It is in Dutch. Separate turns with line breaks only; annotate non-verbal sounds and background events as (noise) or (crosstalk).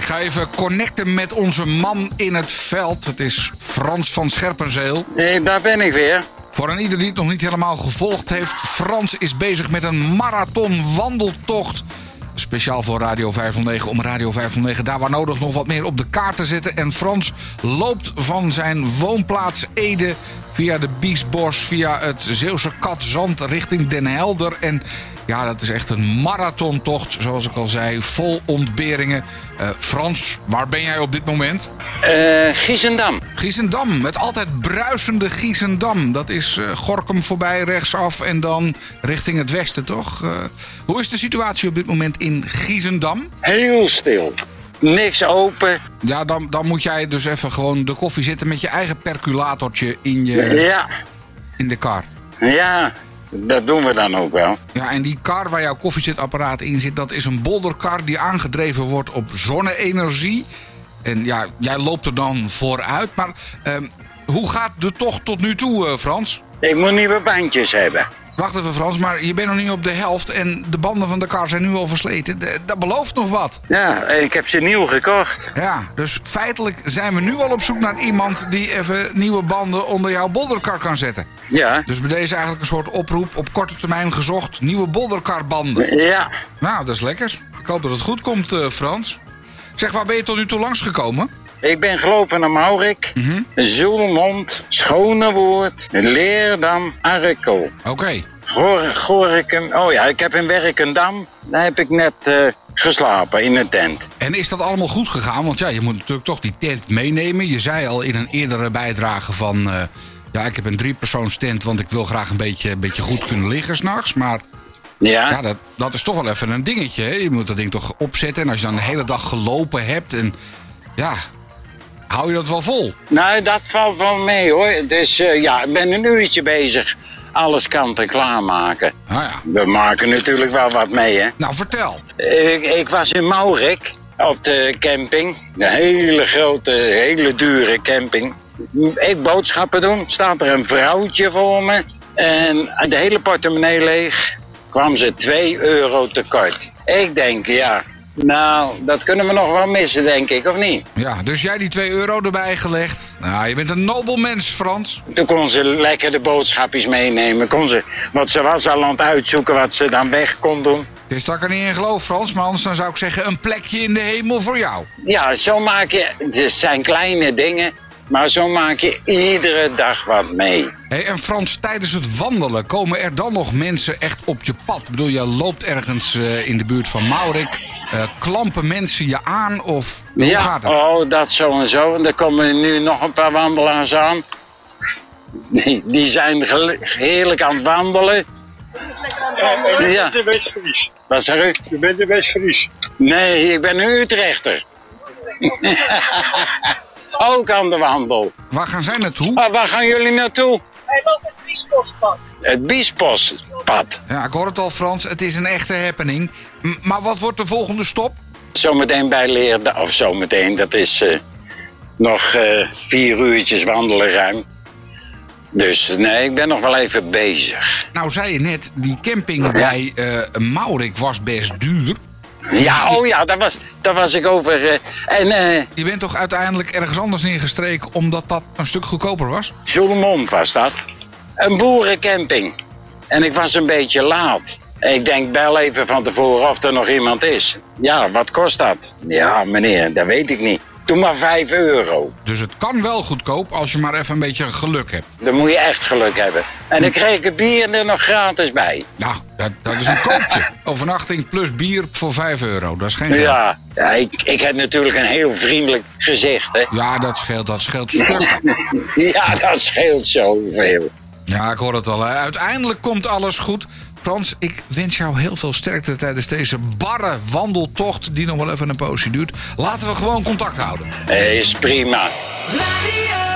ga even connecten met onze man in het veld. Het is Frans van Scherpenzeel.
Hey, Eh, daar ben ik weer.
Voor een ieder die het nog niet helemaal gevolgd heeft, Frans is bezig met een marathon wandeltocht. Speciaal voor Radio 509, om Radio 509 daar waar nodig nog wat meer op de kaart te zetten. En Frans loopt van zijn woonplaats Ede via de Biesbos, via het Zeeuwse Katzand richting Den Helder. En ja, dat is echt een marathontocht, zoals ik al zei, vol ontberingen. Eh, Frans, waar ben jij op dit moment?
Eh Giesendam.
Giesendam, het altijd bruisende Giesendam. Dat is eh, Gorkum voorbij rechtsaf en dan richting het westen, toch? Eh, hoe is de situatie op dit moment in Giesendam?
Heel stil. Niks open.
Ja, dan, dan moet jij dus even gewoon de koffie zitten met je eigen perculatortje in, je,
Ja,
in de kar.
ja. Dat doen we dan ook wel.
Ja, en die kar waar jouw koffiezetapparaat in zit, dat is een bolderkar die aangedreven wordt op zonne-energie. En ja, jij loopt er dan vooruit. Maar ehm, hoe gaat de tocht tot nu toe, eh, Frans?
Ik moet nieuwe bandjes hebben.
Wacht even, Frans, maar je bent nog niet op de helft en de banden van de kar zijn nu al versleten. De- dat belooft nog wat.
Ja, en ik heb ze nieuw gekocht.
Ja, dus feitelijk zijn we nu al op zoek naar iemand die even nieuwe banden onder jouw bolderkar kan zetten.
Ja.
Dus bij deze eigenlijk een soort oproep op korte termijn gezocht nieuwe bolderkarbanden.
Ja.
Nou, dat is lekker. Ik hoop dat het goed komt, eh, Frans. Zeg, waar ben je tot nu toe langsgekomen?
Ik ben gelopen naar Maurik, Zoelmond, Schonewoord, Leerdam, Arkel,
Oké.
Gor Gorikum. Oh ja, ik heb in Werkendam, daar heb ik net eh, geslapen in een tent.
En is dat allemaal goed gegaan? Want ja, je moet natuurlijk toch die tent meenemen. Je zei al in een eerdere bijdrage van... eh, ja, ik heb een driepersoons tent, want ik wil graag een beetje, een beetje goed kunnen liggen s'nachts. Maar
Ja,
ja, dat, dat is toch wel even een dingetje. Hè? Je moet dat ding toch opzetten. En als je dan de hele dag gelopen hebt en... Ja, hou je dat wel vol?
nou dat valt wel mee hoor. Dus eh, ja, ik ben een uurtje bezig alles kanten klaarmaken.
Nou ja.
We maken natuurlijk wel wat mee hè.
Nou, vertel.
Ik, ik was in Maurik op de camping. Een hele grote, hele dure camping. Ik boodschappen doen, staat er een vrouwtje voor me. En de hele portemonnee leeg, kwam ze 2 euro tekort. Ik denk, ja, nou, dat kunnen we nog wel missen, denk ik, of niet?
Ja, dus jij die 2 euro erbij gelegd. Nou, je bent een nobel mens, Frans.
Toen kon ze lekker de boodschapjes meenemen. Kon ze, want ze was al aan het uitzoeken wat ze dan weg kon doen.
Het is dat ik er niet in geloof, Frans. Maar anders dan zou ik zeggen, een plekje in de hemel voor jou.
Ja, zo maak je. Het zijn kleine dingen, maar zo maak je iedere dag wat mee.
Hey, en Frans, tijdens het wandelen komen er dan nog mensen echt op je pad? Ik bedoel, je loopt ergens eh, in de buurt van Maurik. eh, klampen mensen je aan of hoe
ja,
gaat het?
oh, dat zo en zo. En er komen nu nog een paar wandelaars aan. Die, die zijn gel- heerlijk aan het wandelen.
En
Ja.
ja. de Westfries.
Wat zeg u?
Je bent de Westfries.
Nee, ik ben een Utrechter. (laughs) Ook aan de wandel.
Waar gaan zij naartoe?
Maar Ah, waar gaan jullie naartoe?
Hij loopt het Biesbospad.
Het Biesbospad.
Ja, ik hoor het al, Frans. Het is een echte happening. M- maar wat wordt de volgende stop?
Zometeen bij Leerden, of zometeen, dat is eh, nog eh, vier uurtjes wandelen ruim. Dus nee, ik ben nog wel even bezig.
Nou, zei je net, die camping bij eh Maurik was best duur.
Ja, oh ja, daar was, daar was ik over. eh, en eh
Je bent toch uiteindelijk ergens anders neergestreken omdat dat een stuk goedkoper was?
Zoetermond was dat. Een boerencamping. En ik was een beetje laat. Ik denk, bel even van tevoren of er nog iemand is. Ja, wat kost dat? Ja, meneer, dat weet ik niet. Doe maar 5 euro.
Dus het kan wel goedkoop als je maar even een beetje geluk hebt.
Dan moet je echt geluk hebben. En dan kreeg ik een bier er nog gratis bij.
Nou, dat, dat is een koopje. Overnachting plus bier voor 5 euro. Dat is geen geld. Ja,
Ja, ja, ik, ik heb natuurlijk een heel vriendelijk gezicht, hè.
dat scheelt. Dat scheelt stuk.
Ja, dat scheelt zoveel.
Ja, ik hoor het al. hè. Uiteindelijk komt alles goed. Frans, ik wens jou heel veel sterkte tijdens deze barre wandeltocht... die nog wel even een poosje duurt. Laten we gewoon contact houden.
Eh, Is prima.
Radio